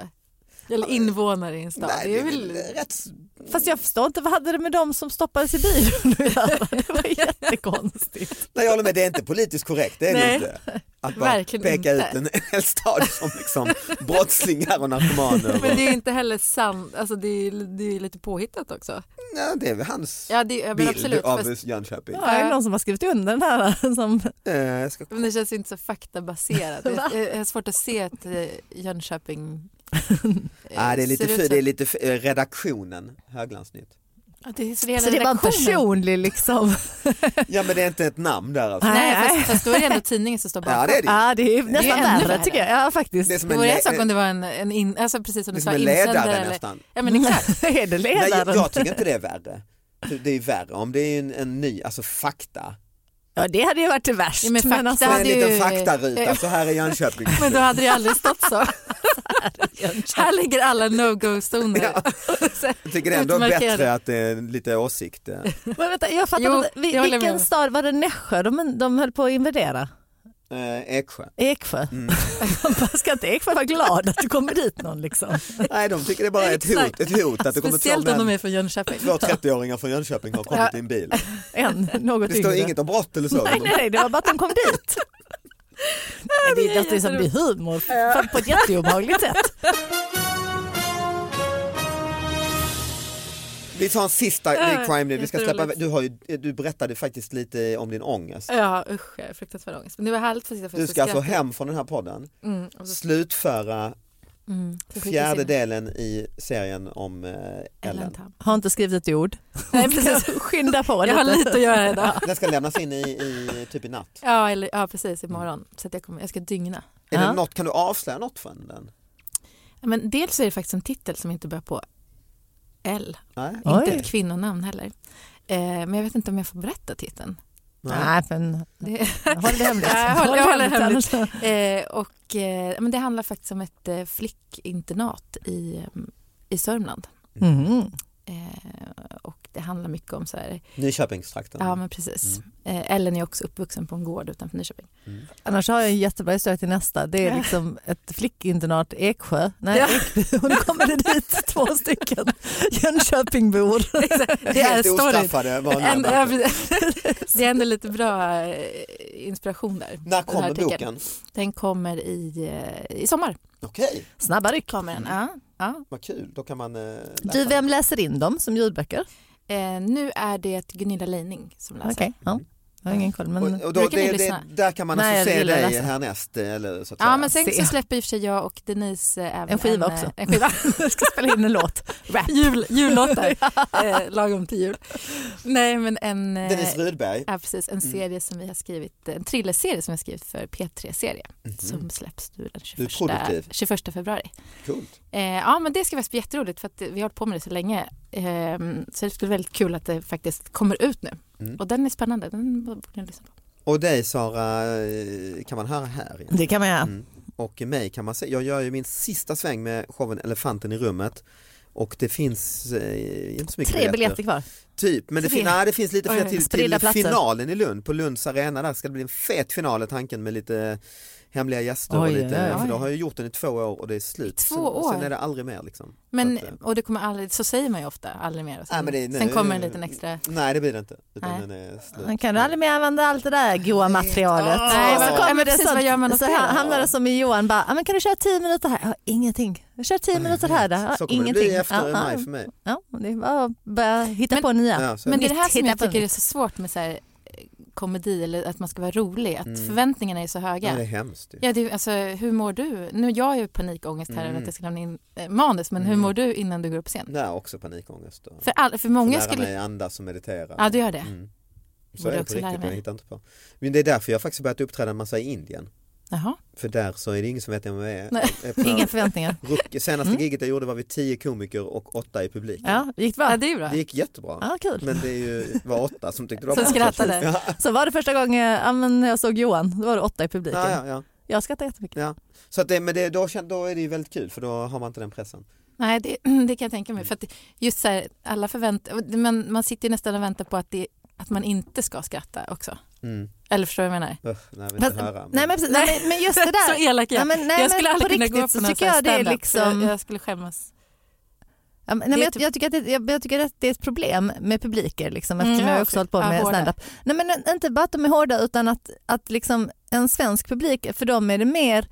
Speaker 4: Eller invånare i en stad?
Speaker 2: Nej,
Speaker 4: det är väl...
Speaker 2: rätt...
Speaker 3: Fast jag förstår inte, vad hade det med dem som stoppades i bilen att göra?
Speaker 2: [LAUGHS]
Speaker 3: Det var jättekonstigt.
Speaker 2: Nej, jag håller med, det är inte politiskt korrekt, det är det
Speaker 4: Nej.
Speaker 2: inte. Att bara
Speaker 4: Verkligen
Speaker 2: peka
Speaker 4: inte.
Speaker 2: ut en [LAUGHS] hel stad som liksom brottslingar och narkomaner. Och,
Speaker 4: [LAUGHS] Men det är ju inte heller sant. Alltså det är, det är lite påhittat också.
Speaker 2: nej, det är väl hans
Speaker 4: Ja, det, jag
Speaker 2: bild
Speaker 4: men absolut.
Speaker 2: av
Speaker 4: Fast,
Speaker 2: Jönköping.
Speaker 3: Ja, är det någon som har skrivit under den här? [LAUGHS] Som,
Speaker 2: Eh, jag ska...
Speaker 4: men det känns ju inte så [LAUGHS] faktabaserat. Jag, jag har svårt att se att eh, Jönköping...
Speaker 2: [LAUGHS]
Speaker 4: eh,
Speaker 2: ah, det är lite,
Speaker 4: ser ut
Speaker 2: för,
Speaker 4: så.
Speaker 2: det är lite för, eh, redaktionen, Höglandsnytt.
Speaker 4: Ja, det är, så det är
Speaker 3: så det var en
Speaker 4: person?
Speaker 2: [LAUGHS]
Speaker 3: personlig liksom.
Speaker 2: Ja men det är inte ett namn där
Speaker 4: [LAUGHS]
Speaker 2: alltså.
Speaker 4: Nej,
Speaker 3: Nej.
Speaker 4: fast, fast då är det ändå tidningen som står bakom.
Speaker 2: Ja det är det ju.
Speaker 3: Ja, det är
Speaker 4: Det är
Speaker 3: nästan
Speaker 4: ännu
Speaker 3: värre
Speaker 4: värre.
Speaker 3: tycker jag. Ja, faktiskt.
Speaker 2: Det är
Speaker 3: Det
Speaker 2: som
Speaker 4: Det
Speaker 2: en,
Speaker 4: vore
Speaker 2: le-
Speaker 4: en sak om det var en, en in, alltså precis som
Speaker 2: det är
Speaker 4: du
Speaker 2: som
Speaker 4: sa,
Speaker 2: en
Speaker 4: insändare.
Speaker 2: ledare
Speaker 4: Eller,
Speaker 2: nästan.
Speaker 4: ja, men
Speaker 3: [LAUGHS]
Speaker 4: exakt.
Speaker 3: är det
Speaker 2: Nej,
Speaker 3: ledaren?
Speaker 2: jag, jag tycker inte det är värre. Det är ju värre om det är en, en ny, alltså fakta.
Speaker 3: Ja, det hade ju varit det värst.
Speaker 4: Ja, men fakta
Speaker 3: alltså,
Speaker 4: [LAUGHS]
Speaker 2: Så
Speaker 4: Ja,
Speaker 2: en
Speaker 4: det är
Speaker 2: liten
Speaker 4: ju-
Speaker 2: faktaruta,
Speaker 4: eh,
Speaker 2: så här är Jönköping.
Speaker 4: [LAUGHS] Men då hade det ju aldrig stått
Speaker 2: [LAUGHS]
Speaker 4: så. Här ligger alla [LAUGHS] no-go-zoner.
Speaker 2: Ja. Jag tycker det är ändå
Speaker 4: Utmärkade.
Speaker 2: bättre att det är lite åsikt. eh.
Speaker 3: men vänta, jag fattar
Speaker 4: Jo,
Speaker 3: inte. Vi-
Speaker 4: det håller jag med
Speaker 3: Vilken
Speaker 4: om.
Speaker 3: stad var det Nässjö de, de höll på att invadera?
Speaker 2: Eh, Eksjö.
Speaker 3: Eksjö. [LAUGHS]
Speaker 2: Mm.
Speaker 3: Ska inte Eksjö vara glad att det kommer dit någon liksom?
Speaker 2: Nej, de tycker det är bara är ett hot,
Speaker 4: Exakt.
Speaker 2: ett hot att det kommer
Speaker 4: Speciellt om
Speaker 2: två
Speaker 4: de
Speaker 2: män.
Speaker 4: är från Jönköping.
Speaker 2: Två 30-åringar från Jönköping har kommit i
Speaker 4: Ja.
Speaker 2: en bil.
Speaker 3: En, något
Speaker 2: Det står
Speaker 3: yngre.
Speaker 2: inget om brott eller så.
Speaker 3: Nej, nej, nej, det var bara att de kom
Speaker 4: [LAUGHS]
Speaker 3: dit. Nej, det
Speaker 4: det är
Speaker 3: är något som blir
Speaker 4: jätteroligt.
Speaker 3: humor fast på ett jätteobehagligt sätt.
Speaker 2: Vi tar en sista
Speaker 4: Ja,
Speaker 2: i crime nu. Vi ska släppa,
Speaker 4: jätteroligt.
Speaker 2: du, har ju, du berättade faktiskt lite om din ångest.
Speaker 4: Ja usch, jag är fruktansvärd ångest. Men det var härligt för att sitta för
Speaker 2: Du ska alltså hem från den här podden,
Speaker 4: Mm, och så-
Speaker 2: slutföra
Speaker 4: mm, så skickas
Speaker 2: fjärde
Speaker 4: in.
Speaker 2: delen i serien om eh,
Speaker 4: Ellen
Speaker 2: Ellen.
Speaker 4: [LAUGHS] Tam.
Speaker 3: Har inte skrivit ett ord.
Speaker 4: Nej precis,
Speaker 3: Skynda på
Speaker 4: jag har
Speaker 3: lite.
Speaker 4: lite att göra idag.
Speaker 2: Den ska lämnas in i, i typ i natt.
Speaker 4: Ja, eller, ja precis, imorgon. Så att jag, kommer, jag ska dygna.
Speaker 2: Är
Speaker 3: Ja.
Speaker 2: det något, kan du avslöja något från den?
Speaker 4: Ja, Men dels är det faktiskt en titel som inte börjar på L.
Speaker 2: Nej.
Speaker 3: Oj.
Speaker 4: Inte ett kvinnonamn heller. Eh, men jag vet inte om jag får berätta titeln.
Speaker 3: Nej, men
Speaker 4: Det,
Speaker 3: håll det
Speaker 4: [LAUGHS]
Speaker 3: hemligt.
Speaker 4: Ja, jag håller- jag håller hemligt.
Speaker 3: annars-
Speaker 4: eh, och, eh, men det handlar faktiskt om ett eh, flickinternat i, eh, i Sörmland.
Speaker 3: Mm.
Speaker 4: Eh, och det handlar mycket om så här,
Speaker 2: Nyköpingstrakten.
Speaker 4: ja men precis. Eh, Ellen är också uppvuxen på en gård utanför Nyköping.
Speaker 2: Mm.
Speaker 3: Annars har jag en jättebra historia till nästa. Det är
Speaker 4: Ja.
Speaker 3: liksom ett flickinternat Eksjö. Nej,
Speaker 4: Ja. [LAUGHS]
Speaker 3: Ekby. Och [LAUGHS] nu kommer det dit två stycken Jönköpingbor.
Speaker 4: Det är
Speaker 2: Helt
Speaker 4: storyn.
Speaker 2: ostraffade
Speaker 4: Ändå,
Speaker 2: vanliga
Speaker 4: ja,
Speaker 2: människor.
Speaker 4: precis. det är ändå lite bra eh, inspiration där.
Speaker 2: När
Speaker 4: Den här
Speaker 2: kommer
Speaker 4: artikeln.
Speaker 2: boken?
Speaker 4: Den kommer i, eh, i sommar.
Speaker 2: Okej.
Speaker 3: Snabba ryck.
Speaker 4: Kommer den, ja. Ja.
Speaker 2: Vad kul, då kan man eh, läsa.
Speaker 3: Du, vem läser in dem som ljudböcker?
Speaker 4: Eh, nu är det Gunilla Leining som läser.
Speaker 3: Okej, ja. jag har ingen koll. Men...
Speaker 2: Och, och då,
Speaker 4: brukar ni
Speaker 2: det, det,
Speaker 4: lyssna?
Speaker 2: där kan man
Speaker 3: Nej,
Speaker 2: alltså
Speaker 3: jag
Speaker 2: se
Speaker 3: gillar att
Speaker 2: dig
Speaker 3: läsa.
Speaker 2: härnäst. eh, Eller, så att
Speaker 4: Ja
Speaker 2: säga.
Speaker 4: men sen
Speaker 3: Se.
Speaker 4: så släpper i och för sig jag och Denise eh, även
Speaker 3: En skiva
Speaker 4: eh,
Speaker 3: också.
Speaker 4: En
Speaker 3: [LAUGHS]
Speaker 4: skiva.
Speaker 3: Jag ska spela in en låt. Rap.
Speaker 4: [LAUGHS] Jul,
Speaker 2: [LAUGHS]
Speaker 4: jullåtar, eh, lagom till jul. Nej men en, eh,
Speaker 2: Dennis Rydberg.
Speaker 4: ja, precis, en
Speaker 2: Mm.
Speaker 4: serie som vi har skrivit, en thrillerserie som vi har skrivit för P3-serie
Speaker 2: Mhm.
Speaker 4: som släpps nu den
Speaker 2: Du är
Speaker 4: 21,
Speaker 2: produktiv.
Speaker 4: 21 februari.
Speaker 2: Coolt.
Speaker 4: Eh, ja men det ska faktiskt bli jätteroligt för att vi har hållit på med det så länge. Eh, så det skulle bli väldigt kul att det faktiskt kommer ut nu.
Speaker 2: Mm.
Speaker 4: Och den är spännande, den borde ni lyssna på.
Speaker 2: Och dig Sara eh, kan man höra här. ju.
Speaker 3: Det kan man göra.
Speaker 2: Mm. Och mig kan man se. Jag gör ju min sista sväng med showen Elefanten i rummet. Och det finns eh, inte så mycket
Speaker 3: Tre biljetter kvar.
Speaker 2: Typ, men det,
Speaker 4: Tre.
Speaker 2: fin- nej, det finns lite
Speaker 4: Oj,
Speaker 2: fler till,
Speaker 3: spridda
Speaker 2: till
Speaker 3: platser.
Speaker 2: finalen i Lund på Lunds arena. Där ska det bli en fet final är tanken med lite hemliga gäster.
Speaker 3: Oj,
Speaker 2: och lite,
Speaker 3: oj, oj.
Speaker 2: För då har jag gjort den i två år och det är slut.
Speaker 4: I två
Speaker 2: Sen-
Speaker 4: år?
Speaker 2: Sen är det aldrig mer liksom.
Speaker 4: Men,
Speaker 2: Så att, eh,
Speaker 4: och det kommer aldrig, så säger man ju ofta, aldrig mer. Och sen,
Speaker 2: Nej, men det är- nej,
Speaker 4: sen kommer en
Speaker 2: eh,
Speaker 4: liten extra
Speaker 2: Nej det blir det inte. Utan
Speaker 4: Nej.
Speaker 2: den är slut.
Speaker 3: Man kan du aldrig mer använda allt det där goa materialet.
Speaker 2: Nej,
Speaker 3: Och så
Speaker 2: vad-
Speaker 4: ja,
Speaker 3: kommer
Speaker 4: men
Speaker 3: det
Speaker 4: precis, vad gör man
Speaker 3: sånt,
Speaker 4: åt
Speaker 3: så
Speaker 4: det
Speaker 3: här,
Speaker 4: då?
Speaker 3: hamnar det som i Johan bara, "Ah, men kan du köra tio minuter här? Jag har ingenting. Jag kör tio
Speaker 2: Jag
Speaker 3: minuter här. Där.
Speaker 2: vet.
Speaker 3: Jag har
Speaker 2: Så kommer
Speaker 3: ingenting.
Speaker 2: det bli efter
Speaker 3: Ja,
Speaker 2: maj
Speaker 3: ja.
Speaker 2: för mig.
Speaker 3: Ja, det är bara att börja hitta
Speaker 4: Men-
Speaker 3: på nya.
Speaker 2: Ja, så är
Speaker 4: Men
Speaker 2: det.
Speaker 4: det är det här
Speaker 3: Nytt,
Speaker 4: som jag
Speaker 3: hitta på
Speaker 4: tycker är
Speaker 3: nytt.
Speaker 4: så svårt med så här, eh, komedi eller att man ska vara rolig, att
Speaker 2: Mm.
Speaker 4: förväntningarna är så
Speaker 2: Nej, det
Speaker 4: höga.
Speaker 2: är hemskt. ju.
Speaker 4: Ja, det är, alltså, hur mår du? Nu, jag har ju panikångest här
Speaker 2: Mm.
Speaker 4: över att jag ska lämna in eh, manus, men hur
Speaker 2: Mm.
Speaker 4: mår du innan du går upp på scen?
Speaker 2: Nej, också panikångest. Då.
Speaker 4: För, all, för många
Speaker 2: lära
Speaker 4: skulle...
Speaker 2: mig andas och meditera.
Speaker 4: Ja, du gör det.
Speaker 2: Mm. Så
Speaker 4: Borde
Speaker 2: är det
Speaker 4: också
Speaker 2: på
Speaker 4: lära
Speaker 2: riktigt,
Speaker 4: mig.
Speaker 2: jag hittar inte på. Men det är därför jag faktiskt börjat uppträda en massa i Indien.
Speaker 4: Jaha.
Speaker 2: För där så är det ingen som vet vem jag är.
Speaker 4: Nej.
Speaker 2: Jag är
Speaker 3: [LAUGHS]
Speaker 2: på-
Speaker 3: Inga förväntningar.
Speaker 2: Ruck- Senaste
Speaker 3: Mm.
Speaker 2: giget jag gjorde var vi tio komiker och åtta i publiken.
Speaker 3: Ja, gick det
Speaker 4: Ja,
Speaker 3: bra?
Speaker 4: det är ju bra.
Speaker 2: Det gick jättebra.
Speaker 3: Ja, kul.
Speaker 2: Men det är ju, var åtta som tyckte det var
Speaker 4: Som
Speaker 2: bra.
Speaker 4: skrattade.
Speaker 2: Ja,
Speaker 3: Så var det första gången ja, men jag såg Johan, då var det åtta i publiken.
Speaker 2: ja, ja, ja.
Speaker 3: Jag skrattade jättemycket.
Speaker 2: Så att det, men det, då, kän- då är det ju väldigt kul för då har man inte den pressen.
Speaker 4: Nej, det, [CLEARS THROAT] det kan jag tänka
Speaker 3: Mm.
Speaker 4: mig. För att just så här, alla förvänt... Man, man sitter ju nästan och väntar på att, det, att man inte ska skratta också.
Speaker 2: Mm.
Speaker 4: Eller förstår du vad jag menar?
Speaker 2: Usch, nej, jag vill inte
Speaker 3: Fast-
Speaker 2: höra. men-
Speaker 3: Nej men, precis, nej, men- men just det där.
Speaker 4: [LAUGHS] Så elak jag
Speaker 3: Ja,
Speaker 4: är.
Speaker 3: men, nej,
Speaker 4: jag skulle
Speaker 3: men
Speaker 4: aldrig
Speaker 3: på
Speaker 4: kunna gå
Speaker 3: riktigt
Speaker 4: på
Speaker 3: så
Speaker 4: någon
Speaker 3: tycker
Speaker 4: sån här
Speaker 3: jag det är
Speaker 4: stand-up, för
Speaker 3: liksom...
Speaker 4: Jag, jag skulle skämmas.
Speaker 3: Ja, men, nej,
Speaker 4: Det är
Speaker 3: men jag,
Speaker 4: typ-
Speaker 3: jag, tycker att det, jag, jag tycker att det är ett problem med publiker liksom,
Speaker 4: Mm,
Speaker 3: eftersom
Speaker 4: jag
Speaker 3: jag
Speaker 4: har
Speaker 3: också
Speaker 4: också-
Speaker 3: hållit på
Speaker 4: ja,
Speaker 3: med
Speaker 4: hårda.
Speaker 3: standup. Nej men en- inte bara att de är hårda utan att, att liksom, en svensk publik, för dem är det mer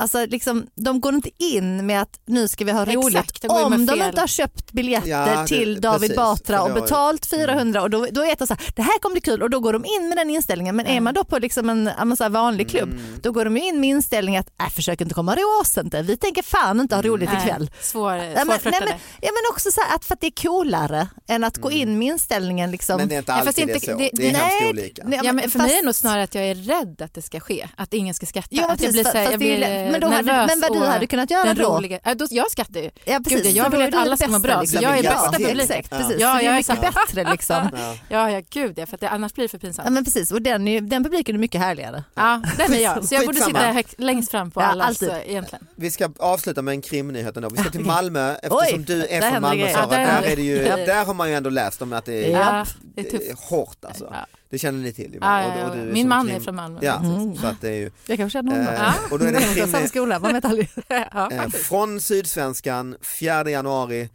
Speaker 3: Alltså liksom, de går inte in med att nu ska vi ha
Speaker 4: Exakt,
Speaker 3: roligt
Speaker 4: de går ju
Speaker 3: om
Speaker 4: med
Speaker 3: de
Speaker 4: fel.
Speaker 3: inte har köpt biljetter
Speaker 2: Ja, det-
Speaker 3: till David
Speaker 2: precis,
Speaker 3: Batra
Speaker 2: för
Speaker 3: och
Speaker 2: det har- Mm.
Speaker 3: betalt 400 och då, då är det så här, det här kommer bli kul och då går de in med den inställningen. Men är
Speaker 4: Mm.
Speaker 3: man då på liksom en, ja, men så här vanlig klubb
Speaker 2: Mm.
Speaker 3: då liksom- går de ju in med inställningen att äh, försök inte komma rås inte, vi tänker fan inte ha roligt
Speaker 4: Nej,
Speaker 3: ikväll.
Speaker 4: Svår,
Speaker 3: men-
Speaker 4: svårflörtade.
Speaker 3: nej, Ja men också så här att för att det är coolare än att gå
Speaker 4: Mm.
Speaker 3: in med inställningen liksom.
Speaker 2: Men det är inte
Speaker 4: Nej, fast
Speaker 2: alltid
Speaker 4: inte-
Speaker 2: det är så. Det,
Speaker 4: det-
Speaker 2: är
Speaker 3: nej,
Speaker 2: hemskt olika.
Speaker 3: Nej,
Speaker 4: Ja, men för
Speaker 3: fast-
Speaker 4: mig är det nog snarare att jag är rädd att det ska ske, att ingen ska skratta.
Speaker 3: Ja,
Speaker 4: att jag
Speaker 3: precis,
Speaker 4: blir, så här,
Speaker 3: fast
Speaker 4: jag
Speaker 3: det är ju
Speaker 4: blir
Speaker 3: lä- men, då
Speaker 4: eh,
Speaker 3: hade,
Speaker 4: nervös
Speaker 3: men vad du
Speaker 4: och
Speaker 3: hade kunnat göra
Speaker 4: den
Speaker 3: då?
Speaker 4: roliga. Ja, då jag skrattar ju.
Speaker 3: Ja, precis.
Speaker 4: Gud, jag
Speaker 3: Så
Speaker 4: vill
Speaker 3: då
Speaker 4: att
Speaker 3: är du
Speaker 4: alla ska
Speaker 3: bästa,
Speaker 4: må bra, så
Speaker 3: liksom.
Speaker 2: jag är
Speaker 3: Ja,
Speaker 2: bästa publiken.
Speaker 3: Exakt,
Speaker 2: Ja.
Speaker 3: precis.
Speaker 4: Ja,
Speaker 3: så det
Speaker 4: jag
Speaker 3: är
Speaker 4: är
Speaker 3: mycket
Speaker 4: samma.
Speaker 3: bättre liksom.
Speaker 2: Ja.
Speaker 4: Ja, ja gud ja, för att det, annars blir det för
Speaker 3: Ja,
Speaker 4: pinsamt.
Speaker 3: men precis, och den, är ju- den publiken är mycket härligare.
Speaker 4: Ja, den är jag. Så jag borde
Speaker 2: Skitsamma.
Speaker 4: sitta högt, längst fram på
Speaker 3: Ja,
Speaker 4: alla
Speaker 3: alltid.
Speaker 4: så, egentligen.
Speaker 2: Vi ska avsluta med en krimnyhet ändå. Vi ska till Malmö eftersom
Speaker 3: Oj,
Speaker 2: du är
Speaker 3: där
Speaker 2: från
Speaker 3: händer
Speaker 2: Malmö
Speaker 3: grejer.
Speaker 2: Sara.
Speaker 4: Ja, där
Speaker 2: där,
Speaker 4: händer
Speaker 2: är det ju,
Speaker 3: Ja.
Speaker 2: där har man ju ändå läst om att det är
Speaker 4: Ja, det är tufft.
Speaker 2: hårt alltså.
Speaker 4: Ja.
Speaker 2: Det känner ni till ju.
Speaker 4: Ja,
Speaker 2: Och-
Speaker 4: ja,
Speaker 2: och du
Speaker 4: ja.
Speaker 2: är
Speaker 4: Min
Speaker 2: som
Speaker 4: man
Speaker 2: krim-
Speaker 4: är från Malmö.
Speaker 2: Ja,
Speaker 3: Mm.
Speaker 2: så att det är ju,
Speaker 3: Jag kanske känner honom.
Speaker 2: eh, och då
Speaker 3: [LAUGHS]
Speaker 4: [LAUGHS]
Speaker 2: är det en
Speaker 3: Vi går
Speaker 2: krimnyhet.
Speaker 3: samma skola, man vet aldrig.
Speaker 4: Ja,
Speaker 2: Eh,
Speaker 4: faktiskt.
Speaker 2: Från Sydsvenskan, 4 januari.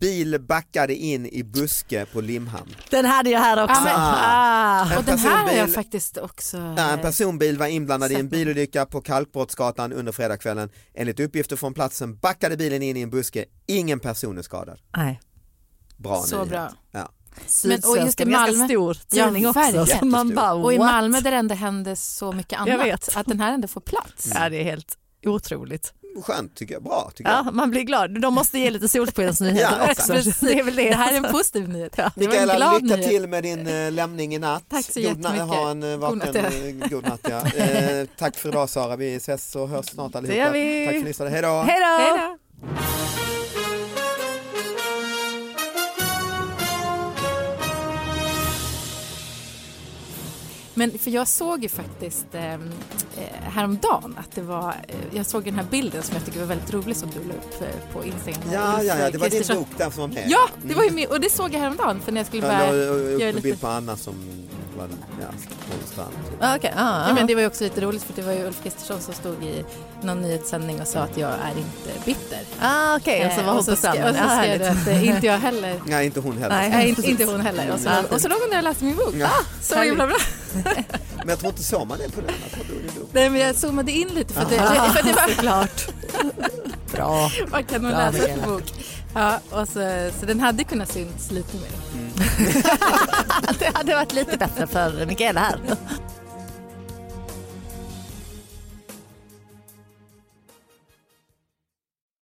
Speaker 2: Bil backade in i buske på Limhamn.
Speaker 3: Den hade jag här också.
Speaker 4: Ja, men-
Speaker 3: Ah.
Speaker 2: En
Speaker 4: Och den här har jag
Speaker 2: personbil-
Speaker 4: faktiskt också.
Speaker 2: Ja, en personbil var inblandad i en
Speaker 4: Sätt.
Speaker 2: bilolycka på Kalkbrottsgatan under fredagskvällen. Enligt uppgifter från platsen backade bilen in i en buske. Ingen person är skadad.
Speaker 3: Nej.
Speaker 2: Bra
Speaker 4: eh, Så
Speaker 2: nyhet.
Speaker 4: bra.
Speaker 2: Ja.
Speaker 4: Men- och just i
Speaker 3: Sydsvenskan, ganska
Speaker 4: Malmö-
Speaker 3: stor tidning
Speaker 4: Ja,
Speaker 3: också. Så
Speaker 4: verkligen.
Speaker 3: man bara,
Speaker 4: Och i
Speaker 3: what?
Speaker 4: Malmö där det ändå händer så mycket
Speaker 3: Jag
Speaker 4: annat,
Speaker 3: vet. Alltså,
Speaker 4: att den här ändå får plats.
Speaker 3: Ja, det är helt otroligt.
Speaker 2: Skönt tycker jag. Bra tycker jag.
Speaker 3: Ja, man blir glad. De måste ge lite
Speaker 4: [LAUGHS]
Speaker 3: solskensnyheter
Speaker 2: Ja,
Speaker 3: också.
Speaker 4: precis.
Speaker 3: Det är väl det.
Speaker 4: Det här är en positiv nyhet. Det var en
Speaker 2: Mikaela,
Speaker 4: glad
Speaker 2: lycka
Speaker 4: nyhet.
Speaker 2: till med din eh, lämning i natt.
Speaker 4: Tack så
Speaker 2: God na-
Speaker 4: jättemycket.
Speaker 2: Ha en eh, vaken,
Speaker 4: God
Speaker 2: god
Speaker 4: natt,
Speaker 2: natt. God natt ja.
Speaker 4: [LAUGHS]
Speaker 2: eh, tack för idag Sara, vi ses och hörs snart allihopa.
Speaker 3: gör vi.
Speaker 2: Tack för att ni lyssnade, hej då!
Speaker 3: [LAUGHS] Hej
Speaker 4: Hej
Speaker 3: då!
Speaker 4: då! Men för jag såg ju faktiskt eh, eh, häromdagen att det var, eh, jag såg den här bilden som jag tycker var väldigt rolig som du la upp eh, på Instagram.
Speaker 2: Ja, ja, ja, det var din
Speaker 4: Kristersson.
Speaker 2: bok Mm. där som var med.
Speaker 4: Ja, det var ju min, och det såg jag häromdagen för när jag skulle
Speaker 2: Jag la
Speaker 4: börja,
Speaker 2: upp
Speaker 4: gör
Speaker 2: en
Speaker 4: lite-
Speaker 2: bild på Anna som var ja, på strand.
Speaker 3: Ah, Okej, ah,
Speaker 4: ja, men
Speaker 3: det,
Speaker 4: det var ju också lite roligt för det var ju Ulf Kristersson som stod i någon nyhetssändning och sa att jag är inte bitter.
Speaker 3: ah, okej, och så var
Speaker 4: Eh,
Speaker 3: hon
Speaker 4: så
Speaker 3: på
Speaker 4: skrev-
Speaker 3: stranden.
Speaker 4: Och så
Speaker 3: Ah,
Speaker 4: skrev
Speaker 3: härligt.
Speaker 4: du att eh, inte jag heller
Speaker 2: Nej, inte hon heller.
Speaker 3: Nej.
Speaker 4: Nej, inte, inte hon heller. Och så,
Speaker 3: Nej.
Speaker 4: och så låg hon där och läste min bok.
Speaker 2: Ja.
Speaker 4: Så himla bra.
Speaker 2: Men jag tror inte såg man det på den. Jag tror det var din bok.
Speaker 4: Nej, men jag zoomade in lite för att det,
Speaker 3: Ah,
Speaker 4: [LAUGHS] för att det var...
Speaker 3: såklart.
Speaker 4: [LAUGHS]
Speaker 3: Bra.
Speaker 4: Man kan nog
Speaker 3: Bra,
Speaker 4: läsa
Speaker 3: Mikaela.
Speaker 4: en bok. Ja, och så, så den hade kunnat synts lite mer.
Speaker 3: Det hade varit lite bättre för Mikaela här.